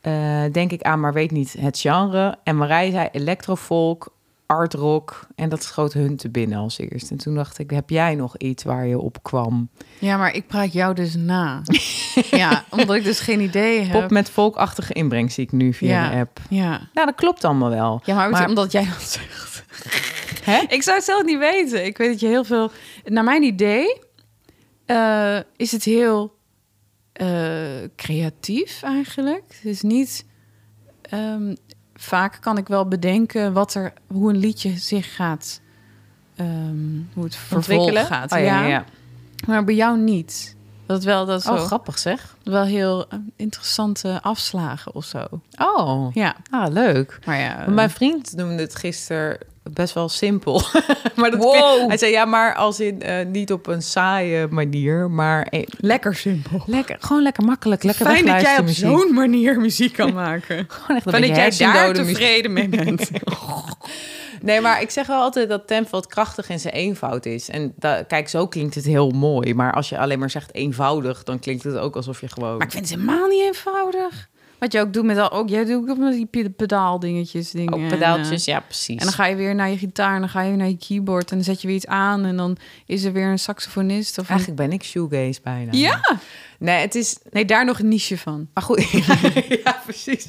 Eh, denk ik aan, maar weet niet het genre. En Marije zei electrofolk, art rock. En dat schoot hun te binnen als eerst. En toen dacht ik, heb jij nog iets waar je op kwam? Ja, maar ik praat jou dus na. ja, omdat ik dus geen idee heb. Pop met volkachtige inbreng zie ik nu via Ja. de app. Ja. Nou, dat klopt allemaal wel. Ja, maar, Maar- omdat jij dat zegt. Hè? Ik zou het zelf niet weten. Ik weet dat je heel veel... Naar mijn idee eh, is het heel eh, creatief eigenlijk. Het is niet... ehm, vaak kan ik wel bedenken wat er, hoe een liedje zich gaat... ehm, hoe het vervolg Ontwikkelen? gaat. Oh, ja, ja. ja. Maar bij jou niet. Dat wel, dat is Oh, wel, grappig zeg. wel heel eh, interessante afslagen of zo. Oh, Ja, ah, leuk. maar ja. eh. Mijn vriend noemde het gisteren best wel simpel. maar dat Wow. Hij zei ja, maar als in eh, niet op een saaie manier, maar eh, lekker simpel. lekker, gewoon lekker makkelijk, lekker Fijn dat jij op wegluistermuziek. zo'n manier muziek kan maken. gewoon echt een Fijn dat beetje jij daar hersendode muziek. tevreden mee bent. Nee, maar ik zeg wel altijd dat Tenveld krachtig in zijn eenvoud is. En da- kijk, zo klinkt het heel mooi, maar als je alleen maar zegt eenvoudig, dan klinkt het ook alsof je gewoon. maar ik vind het helemaal niet eenvoudig. Wat je ook doet met al, ook jij doet ook met die pe- pedaaldingetjes, dingen. ook En, pedaaltjes, eh, ja, precies. en dan ga je weer naar je gitaar, en dan ga je weer naar je keyboard, en dan zet je weer iets aan, en dan is er weer een saxofonist of. een- Eigenlijk ben ik shoegaze bijna. Ja. Nee, het is Nee, daar nog een niche van. Maar goed, ja, precies.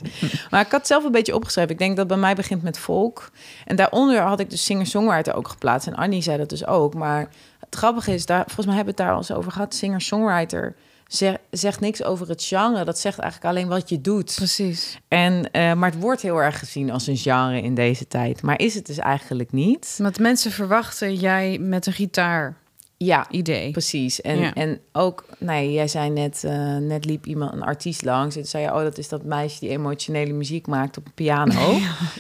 Maar ik had zelf een beetje opgeschreven. Ik denk dat bij mij begint met volk. En daaronder had ik dus singer-songwriter ook geplaatst. En Annie zei dat dus ook. Maar het grappige is, daar, volgens mij hebben we het daar al eens over gehad. Singer-songwriter zeg- zegt niks over het genre. Dat zegt eigenlijk alleen wat je doet. Precies. En, eh, maar het wordt heel erg gezien als een genre in deze tijd. Maar is het dus eigenlijk niet? Want mensen verwachten jij met een gitaar. Ja, idee. precies. En, Ja. en ook, nee, jij zei net, eh, net liep iemand, een artiest langs. En toen zei je, oh, dat is dat meisje die emotionele muziek maakt op een piano.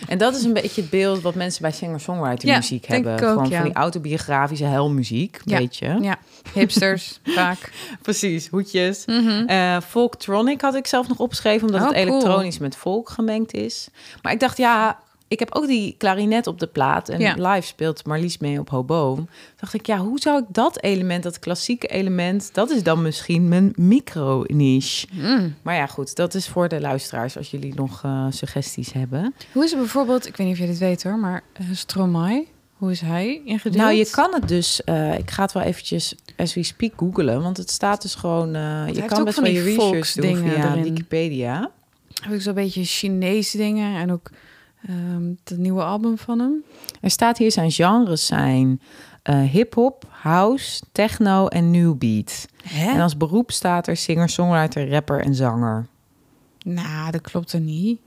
En dat is een beetje het beeld wat mensen bij singer-songwriter Ja, muziek denk hebben. ik ook, Gewoon ja. van die autobiografische helmuziek, Ja. weet je. Ja, hipsters vaak. Precies, hoedjes. Mhm. Eh, Folktronic had ik zelf nog opgeschreven, omdat Oh, het cool. elektronisch met folk gemengd is. Maar ik dacht, ja, ik heb ook die klarinet op de plaat. En Ja. live speelt Marlies mee op Hoboom. Toen dacht ik, ja, hoe zou ik dat element, dat klassieke element... dat is dan misschien mijn micro-niche. Mm. Maar ja, goed, dat is voor de luisteraars... als jullie nog eh, suggesties hebben. Hoe is het bijvoorbeeld, ik weet niet of je dit weet hoor, maar eh, Stromae, hoe is hij ingedeeld? Nou, je kan het dus... eh, ik ga het wel eventjes as we speak googlen. Want het staat dus gewoon... eh, je heeft kan ook best van wel je die research doen volksdingen via erin. Wikipedia. Heb ik zo'n beetje Chinees dingen en ook ehm dat nieuwe album van hem. Er staat hier zijn genres zijn eh, hip-hop, house, techno en new beat. En Hè? als beroep staat er singer, songwriter, rapper en zanger. Nou, dat klopt er niet.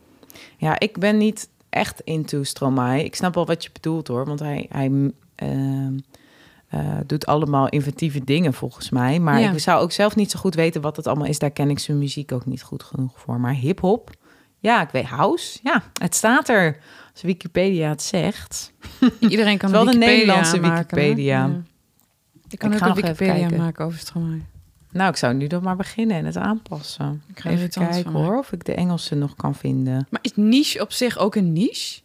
Ja, ik ben niet echt into Stromae. Ik snap wel wat je bedoelt hoor, want hij, hij ehm, eh, doet allemaal inventieve dingen volgens mij. Maar Ja. ik zou ook zelf niet zo goed weten wat het allemaal is. Daar ken ik zijn muziek ook niet goed genoeg voor. Maar hip-hop, ja, ik weet house. Ja, het staat er. Als Wikipedia het zegt. Iedereen kan Het is wel de een Wikipedia Nederlandse maken, hè? Wikipedia. Ja. Je kan Ik ook ga een nog even Wikipedia kijken. maken over Stromae. Nou, ik zou nu dan maar beginnen en het aanpassen. Ik ga er Even iets anders kijken van maken. hoor, of ik de Engelse nog kan vinden. Maar is niche op zich ook een niche?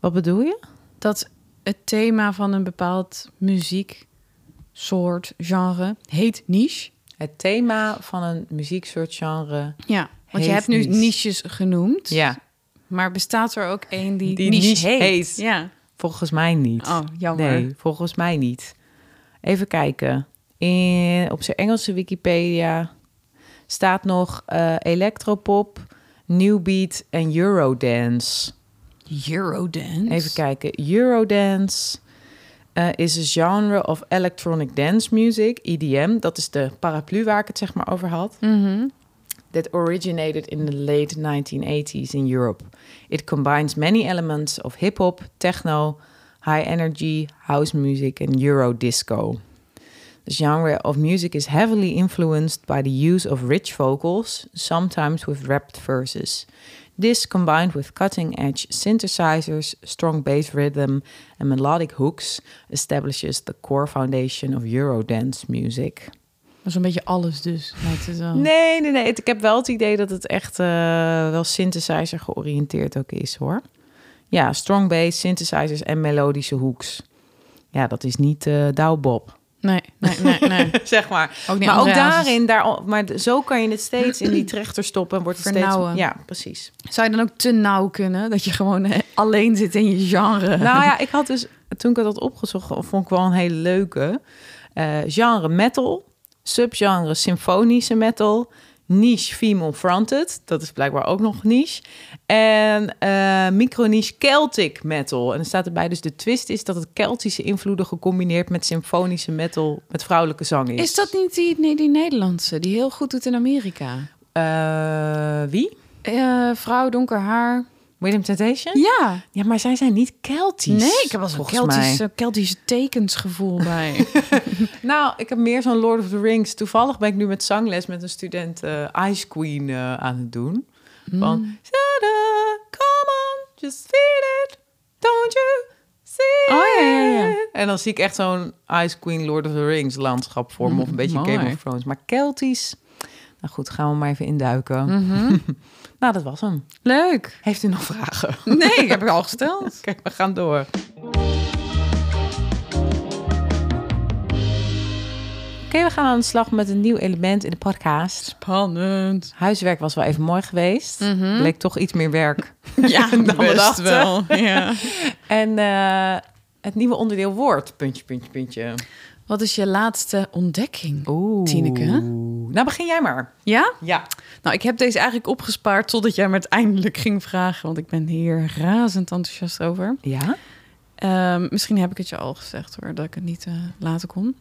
Wat bedoel je? Dat het thema van een bepaald muziek, soort, genre, heet niche? Het thema van een muzieksoort genre. Ja, want je Heet hebt nu niche. niches genoemd. Ja, Maar bestaat er ook één die, Die niche, niche heet? heet. Ja. volgens mij niet. Oh, jammer. nee, volgens mij niet. Even kijken. In, op zijn Engelse Wikipedia staat nog eh electropop, new beat en eurodance. Eurodance. Even kijken. Eurodance eh, is een genre of electronic dance music, EDM. Dat is de paraplu waar ik het zeg maar over had. Mhm. that originated in the late 1980s in Europe. It combines many elements of hip hop, techno, high energy, house music, and Euro disco. The genre of music is heavily influenced by the use of rich vocals, sometimes with rapped verses. This, combined with cutting edge synthesizers, strong bass rhythm, and melodic hooks, establishes the core foundation of Eurodance music. Dat is een beetje alles dus, lijkt het wel. Nee, nee, nee. Het- Ik heb wel het idee dat het echt eh, wel synthesizer georiënteerd ook is, hoor. Ja, strong bass, synthesizers en melodische hoeks. Ja, dat is niet eh douwbob, Nee, nee, nee. nee. zeg maar. Ook niet maar ook André Hazes. daarin, daar, maar d- zo kan je het steeds in die trechter stoppen en wordt het Vernauwen. steeds... Ja, precies. Zou je dan ook te nauw kunnen? Dat je gewoon eh, alleen zit in je genre. nou ja, ik had dus, toen ik dat had opgezocht, vond ik wel een hele leuke. Eh, genre metal, subgenre symfonische metal, niche female fronted, dat is blijkbaar ook nog niche. En eh micro-niche Celtic metal. En er staat erbij dus de twist is dat het Keltische invloeden gecombineerd met symfonische metal met vrouwelijke zang is. Is dat niet die, nee, die Nederlandse die heel goed doet in Amerika? Eh, wie? Eh, vrouw, donker haar. William Temptation? Ja. Ja, maar zij zijn niet Keltisch. Nee, ik heb wel zo'n volgens mij. Keltische, Keltische tekensgevoel bij. Nou, ik heb meer zo'n Lord of the Rings. Toevallig ben ik nu met zangles met een student eh, Ice Queen eh, aan het doen. Hmm. Van, Shada, come on, just feel it, don't you see Oh, ja, ja, ja. it. En dan zie ik echt zo'n Ice Queen Lord of the Rings landschap voor me. Of een beetje Mm, mooi. Game of Thrones. Maar Keltisch, nou goed, gaan we maar even induiken. Mhm. nou, dat was hem. Leuk. Heeft u nog vragen? Nee, ik heb ik al gesteld. Kijk, we gaan door. Oké, we gaan aan de slag met een nieuw element in de podcast. Spannend. Huiswerk was wel even mooi geweest. Bleek toch iets meer werk. Mhm. Ja, Dan dat we dachten. wel. Ja. En eh, het nieuwe onderdeel woord. Puntje, puntje, puntje. Wat is je laatste ontdekking? Oeh. Tineke? Nou, begin jij maar. Ja? Ja. Nou, ik heb deze eigenlijk opgespaard totdat jij me het eindelijk ging vragen. Want ik ben hier razend enthousiast over. Ja? Ehm, misschien heb ik het je al gezegd hoor, dat ik het niet eh, laten kon.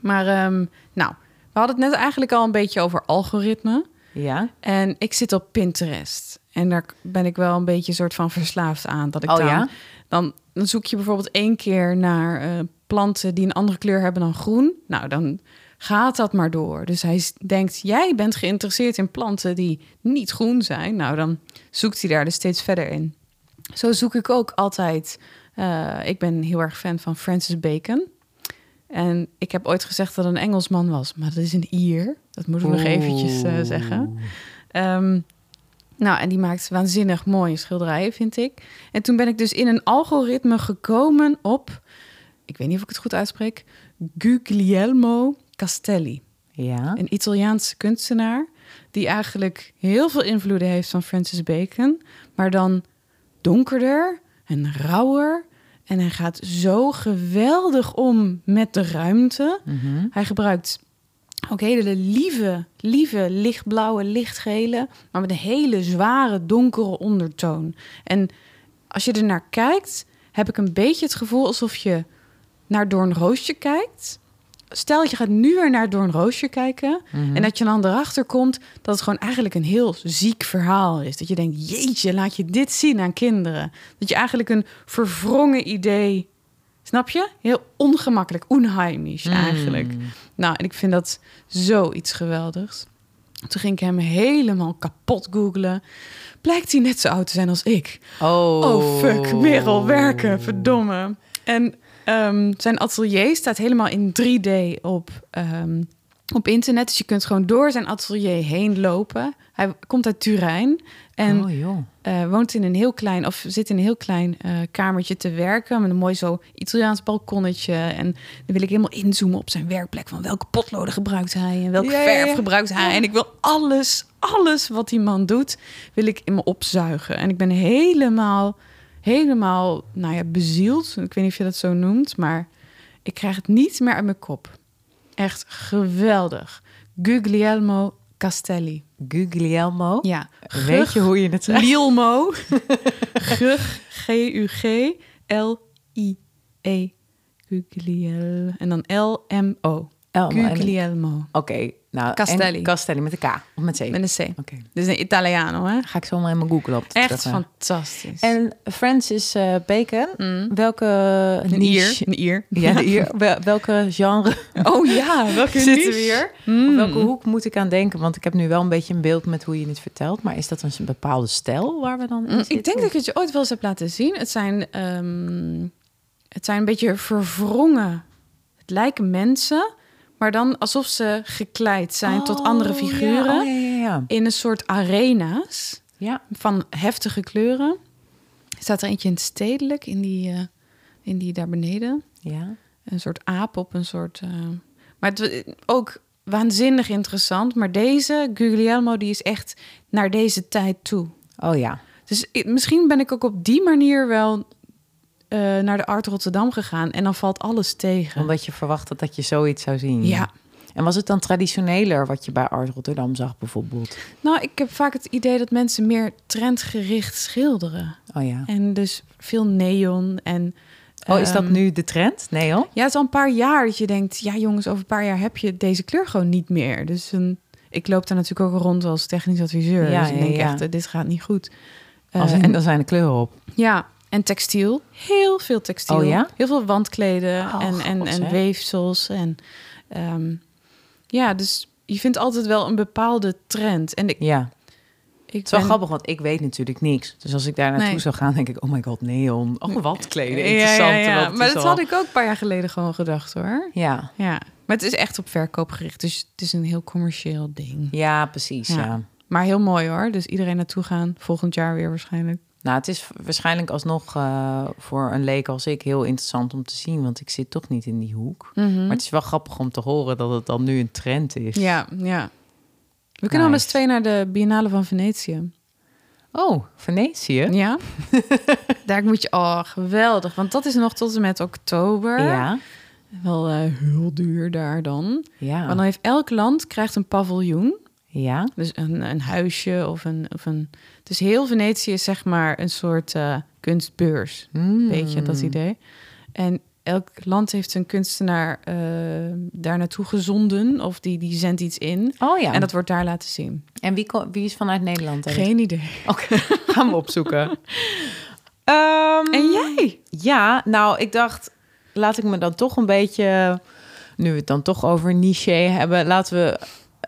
Maar ehm, nou, we hadden het net eigenlijk al een beetje over algoritme. Ja. En ik zit op Pinterest. En daar ben ik wel een beetje soort van verslaafd aan. Dat ik Oh dan, ja? dan, dan zoek je bijvoorbeeld één keer naar eh, planten die een andere kleur hebben dan groen. Nou, dan gaat dat maar door. Dus hij s- denkt, jij bent geïnteresseerd in planten die niet groen zijn. Nou, dan zoekt hij daar dus steeds verder in. Zo zoek ik ook altijd. eh, ik ben heel erg fan van Francis Bacon. En ik heb ooit gezegd dat het een Engelsman was, maar dat is een Ier. Dat moeten we nog eventjes eh, zeggen. Ehm, nou, en die maakt waanzinnig mooie schilderijen, vind ik. En toen ben ik dus in een algoritme gekomen op, ik weet niet of ik het goed uitspreek, Guglielmo Castelli. Ja. Een Italiaanse kunstenaar die eigenlijk heel veel invloeden heeft van Francis Bacon, maar dan donkerder en rauwer. En hij gaat zo geweldig om met de ruimte. Mhm. Hij gebruikt ook hele lieve, lieve lichtblauwe, lichtgele, maar met een hele zware, donkere ondertoon. En als je er naar kijkt, heb ik een beetje het gevoel alsof je naar Doornroosje kijkt. Stel je gaat nu weer naar Doornroosje kijken en dat je dan erachter komt dat het gewoon eigenlijk een heel ziek verhaal is. Dat je denkt, jeetje, laat je dit zien aan kinderen. Dat je eigenlijk een verwrongen idee, snap je? Heel ongemakkelijk, onheimisch eigenlijk. Nou, en ik vind dat zoiets geweldigs. Toen ging ik hem helemaal kapot googlen. Blijkt hij net zo oud te zijn als ik. Oh. Oh fuck, Merel, werken, verdomme. En ehm, zijn atelier staat helemaal in 3D op, ehm, op internet. Dus je kunt gewoon door zijn atelier heen lopen. Hij komt uit Turijn en oh joh. eh, woont in een heel klein, of zit in een heel klein eh, kamertje te werken. Met een mooi zo Italiaans balkonnetje. En dan wil ik helemaal inzoomen op zijn werkplek. Van welke potloden gebruikt hij en welke Ja, ja, verf ja. gebruikt hij. En ik wil alles, alles wat die man doet, wil ik in me opzuigen. En ik ben helemaal, helemaal, nou ja, bezield. Ik weet niet of je dat zo noemt, maar ik krijg het niet meer uit mijn kop. Echt geweldig. Guglielmo Castelli. Guglielmo. Ja, Weet je hoe je het zegt? Lielmo. Gug, G-U-G-L-I-E. Gugliel. E. En dan L-M-O. Oh, maar- Guglielmo. Oké, nou. en Castelli. Castelli met een K of met een C. Met een C. Oké. Dus een Italiano, hè? Ga ik zomaar helemaal googlen op. de Echt terugweg. fantastisch. En Francis eh, Bacon, welke Mm. een niche? ier. Een ier. Ja, de ier. Wel- welke genre Oh ja, welke zitten we niche? hier? Mm. Hmm. Op welke hoek moet ik aan denken? Want ik heb nu wel een beetje een beeld met hoe je het vertelt. Maar is dat een s- bepaalde stijl waar we dan in Mm, zitten? Ik denk dat ik het je ooit wel eens heb laten zien. Het zijn, ehm, het zijn een beetje verwrongen. Het lijken mensen, maar dan alsof ze gekleid zijn tot Oh, andere figuren. Ja, oh, ja, ja, ja. in een soort arena's Ja. van heftige kleuren. Er staat er eentje in het stedelijk, in die, eh, in die daar beneden. ja. Een soort aap op een soort... eh, Maar het, wa- ook waanzinnig interessant. Maar deze, Guglielmo, die is echt naar deze tijd toe. Oh ja. Dus ik- misschien ben ik ook op die manier wel eh, naar de Art Rotterdam gegaan. En dan valt alles tegen. Omdat je verwacht had dat je zoiets zou zien. Ja. En was het dan traditioneler wat je bij Art Rotterdam zag bijvoorbeeld? Nou, ik heb vaak het idee dat mensen meer trendgericht schilderen. Oh ja. En dus veel neon en... Oh, is dat ehm, nu de trend? Nee hoor. Ja, het is al een paar jaar dat je denkt... ja jongens, over een paar jaar heb je deze kleur gewoon niet meer. Dus een, ik loop daar natuurlijk ook rond als technisch adviseur. Ja, dus ik ja, denk ja. echt, eh, dit gaat niet goed. Als- Eh, en dan zijn de kleuren op. Ja, en textiel. Heel veel textiel. Oh ja? Heel veel wandkleden Oh, en, en, god, en hè? weefsels. En, ehm, ja, dus je vindt altijd wel een bepaalde trend. En ik, Ja. ik Het is wel ben- grappig, want ik weet natuurlijk niks. Dus als ik daar naartoe Nee. zou gaan, denk ik... oh my god, neon. Oh, wat kleden. Ja, Interessant. ja, ja. terwijl het Maar is dat al- had ik ook een paar jaar geleden gewoon gedacht hoor. Ja, Ja, maar het is echt op verkoop gericht. Dus het is een heel commercieel ding. ja precies. Ja. ja. Maar heel mooi hoor. Dus iedereen naartoe gaan. Volgend jaar weer waarschijnlijk. Nou, het is waarschijnlijk alsnog eh, voor een leek als ik heel interessant om te zien, want ik zit toch niet in die hoek. Hm. Maar het is wel grappig om te horen dat het dan nu een trend is. Ja, ja. We kunnen wel eens Nice. twee naar de Biennale van Venetië. Oh, Venetië? Ja. Daar moet je... Oh, geweldig. Want dat is nog tot en met oktober. Ja. Wel eh, heel duur daar dan. Want Ja. dan heeft elk land krijgt een paviljoen. Ja. Dus een, een huisje of een, of een... Dus heel Venetië is zeg maar een soort eh, kunstbeurs. Hmm. Weet je, dat idee. En elk land heeft een kunstenaar eh, daar naartoe gezonden. Of die, die zendt iets in. Oh ja. En En, dat wordt daar laten zien. wie, ko- wie is vanuit Nederland? daar? Geen idee. Oké, gaan we opzoeken. Ehm, En jij? Ja, nou, ik dacht, laat ik me dan toch een beetje, nu we het dan toch over niche hebben, laten we,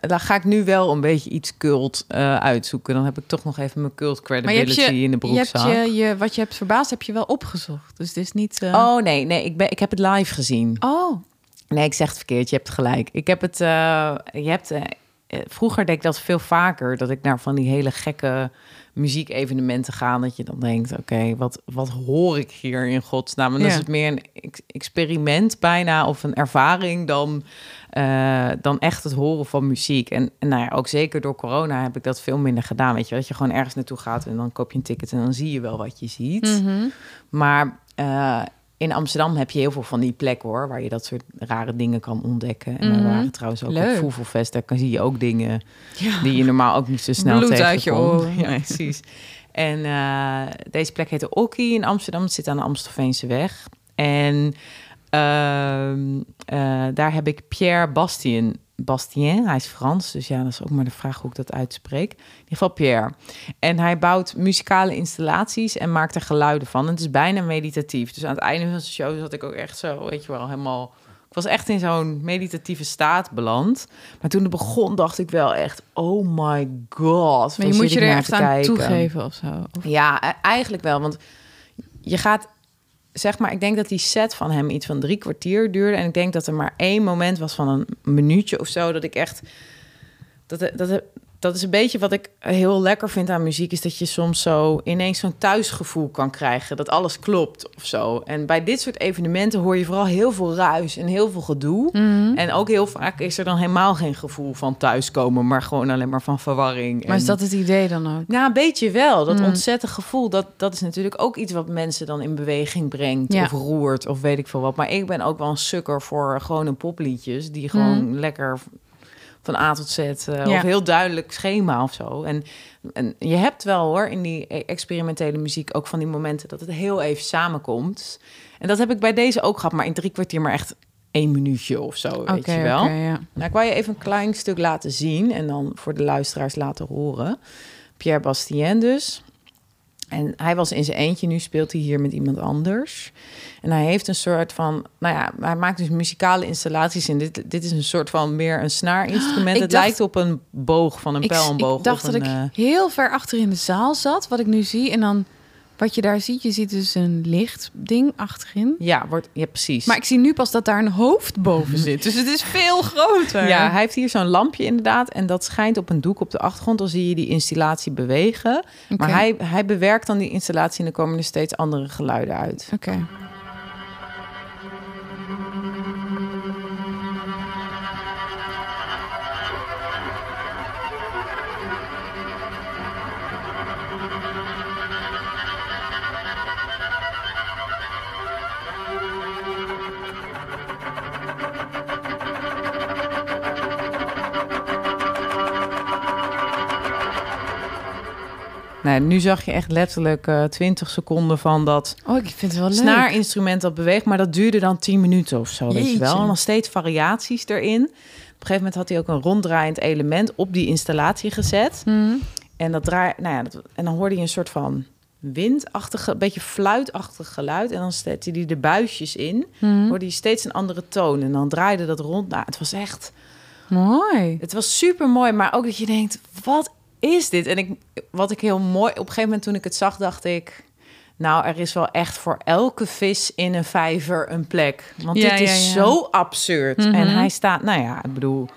dan ga ik nu wel een beetje iets cult eh, uitzoeken. Dan heb ik toch nog even mijn cult Maar je hebt credibility je, in de je hebt broekzak. je, je, wat je hebt verbaasd, heb je wel opgezocht. Dus het is niet... eh, Oh nee, nee ik, ben, ik heb het live gezien. oh. Nee, ik zeg het verkeerd. Je hebt gelijk. Ik heb het. eh, je hebt. eh, eh, vroeger deed ik dat veel vaker. Dat ik naar van die hele gekke muziekevenementen ga. Dat je dan denkt: oké, wat, wat hoor ik hier in godsnaam? En dan Ja. is het meer een ex- experiment bijna of een ervaring dan, eh, dan echt het horen van muziek. En, en nou ja, ook zeker door corona heb ik dat veel minder gedaan. Weet je, wel? dat je gewoon ergens naartoe gaat en dan koop je een ticket en dan zie je wel wat je ziet. Mhm. Maar eh, in Amsterdam heb je heel veel van die plekken hoor, waar je dat soort rare dingen kan ontdekken. En we Mhm. waren trouwens ook op Leuk. Voevelfest, daar kan, zie je ook dingen Ja. die je normaal ook niet zo snel Bloed tegenkomt. uit je oren. Ja, Nee. precies. En eh, deze plek heette Okkie in Amsterdam. Het zit aan de Amstelveense weg. En ehm, eh, daar heb ik Pierre Bastien. Bastien, hij is Frans, dus ja, dat is ook maar de vraag hoe ik dat uitspreek. In ieder geval Pierre. En hij bouwt muzikale installaties en maakt er geluiden van. En het is bijna meditatief. Dus aan het einde van zijn show zat ik ook echt zo, weet je wel, helemaal... Ik was echt in zo'n meditatieve staat beland. Maar toen het begon, dacht ik wel echt, oh my Maar god. waar je zit moet je ik er naar echt te aan kijken? toegeven of zo. Of- Ja, e- eigenlijk wel. Want je gaat, zeg maar, ik denk dat die set van hem iets van drie kwartier duurde. En ik denk dat er maar één moment was van een minuutje of zo. Dat ik echt. Dat, dat, dat is een beetje wat ik heel lekker vind aan muziek. Is dat je soms zo ineens zo'n thuisgevoel kan krijgen. Dat alles klopt of zo. En bij dit soort evenementen hoor je vooral heel veel ruis en heel veel Mhm. gedoe. En ook heel vaak is er dan helemaal geen gevoel van thuiskomen. Maar gewoon alleen maar van verwarring. Maar is en- dat het idee dan ook? nou, een beetje wel. Dat Mm. ontzettend gevoel, dat, dat is natuurlijk ook iets wat mensen dan in beweging brengt. Ja. Of roert, of weet ik veel wat. Maar ik ben ook wel een sukker voor gewone popliedjes. Die gewoon Hmm. lekker van A tot Z, eh, of heel duidelijk schema of zo. En, en je hebt wel hoor, in die e- experimentele muziek... ook van die momenten dat het heel even samenkomt. En dat heb ik bij deze ook gehad, maar in drie kwartier maar echt één minuutje of zo, weet Oké, je wel. oké, ja. Nou, ik wou je even een klein stuk laten zien en dan voor de luisteraars laten horen. Pierre Bastien dus. En hij was in zijn eentje, nu speelt hij hier met iemand anders. En hij heeft een soort van, nou ja, hij maakt dus muzikale installaties. En dit, dit is een soort van meer een snaarinstrument. Ik het dacht- lijkt op een boog van een Ik, pijlenboog. ik dacht of dat een, ik eh, heel ver achter in de zaal zat, wat ik nu zie. En dan wat je daar ziet, je ziet dus een lichtding achterin. Ja, wordt, ja, precies. Maar ik zie nu pas dat daar een hoofd boven zit. Dus het is veel groter. Ja, hij heeft hier zo'n lampje inderdaad. En dat schijnt op een doek op de achtergrond. Dan zie je die installatie bewegen. Maar Oké. hij, hij bewerkt dan die installatie en er komen er steeds andere geluiden uit. Oké. Nou, nu zag je echt letterlijk eh 20 seconden van dat Oh, ik vind het wel leuk. snaarinstrument dat beweegt. Maar dat duurde dan 10 minuten of zo, weet je wel. Jeetje. En dan steeds variaties erin. Op een gegeven moment had hij ook een ronddraaiend element op die installatie gezet. Mhm. En, dat draai, nou ja, dat, en dan hoorde je een soort van windachtige, beetje fluitachtig geluid. En dan zette hij de buisjes in. Mhm. Hoorde je steeds een andere toon. En dan draaide dat rond. Nou, het was echt... Mooi. Het was super mooi, maar ook dat je denkt: wat is dit? En ik, wat ik heel mooi, op een gegeven moment toen ik het zag, dacht ik: Nou, er is wel echt voor elke vis in een vijver een plek. Want Ja, dit ja, is ja. zo absurd. Mhm. En hij staat, nou ja, ik bedoel.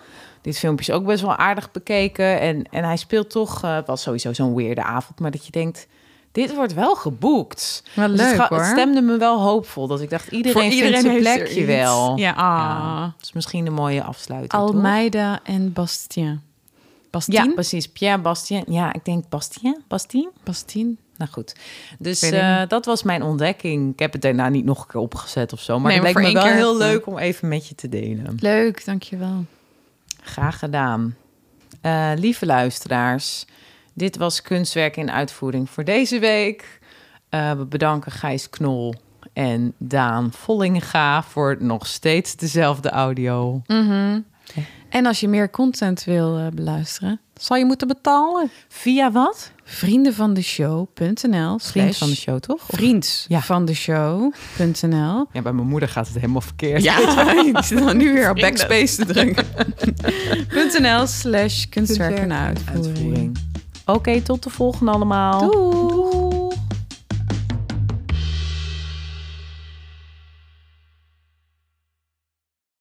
Dit filmpje is ook best wel aardig bekeken. En, en hij speelt toch, eh, het was sowieso zo'n weerde avond, maar dat je denkt: dit wordt wel geboekt. Wel Dus het, leuk ga- hoor. het stemde me wel hoopvol. Dat ik dacht: iedereen, Voor vindt zijn heeft er plekje iets. wel. Ja, ah. Ja, dat is misschien een mooie afsluiting. toch? Almeida en Bastien. Bastien? Ja, precies. Pierre Bastien. Ja, ik denk Bastien. Bastien? Bastien? Nou goed. Dus Ik weet het eh, dat was mijn ontdekking. Ik heb het daarna niet nog een keer opgezet of zo. Maar Nee, het maar leek me voor wel één heel keer. leuk om even met je te delen. Leuk, dankjewel. Graag gedaan. Eh, lieve luisteraars, dit was Kunstwerk in Uitvoering voor deze week. Eh, we bedanken Gijs Knol Mm. Mhm. en Daan Vollinga voor nog steeds dezelfde audio. En als je meer content wil eh, beluisteren, zal je moeten betalen. Via wat? Vriendenvandeshow.nl Vriend slash van de show, toch? Of- Ja. vriendsvandeshow.nl Ja, bij mijn moeder gaat het helemaal verkeerd. Ja, ik zit dan nu weer op Vrienden. backspace te drukken. .nl slash kunstwerk en uitvoering. Uitvoering. Oké, tot de volgende allemaal. Doei.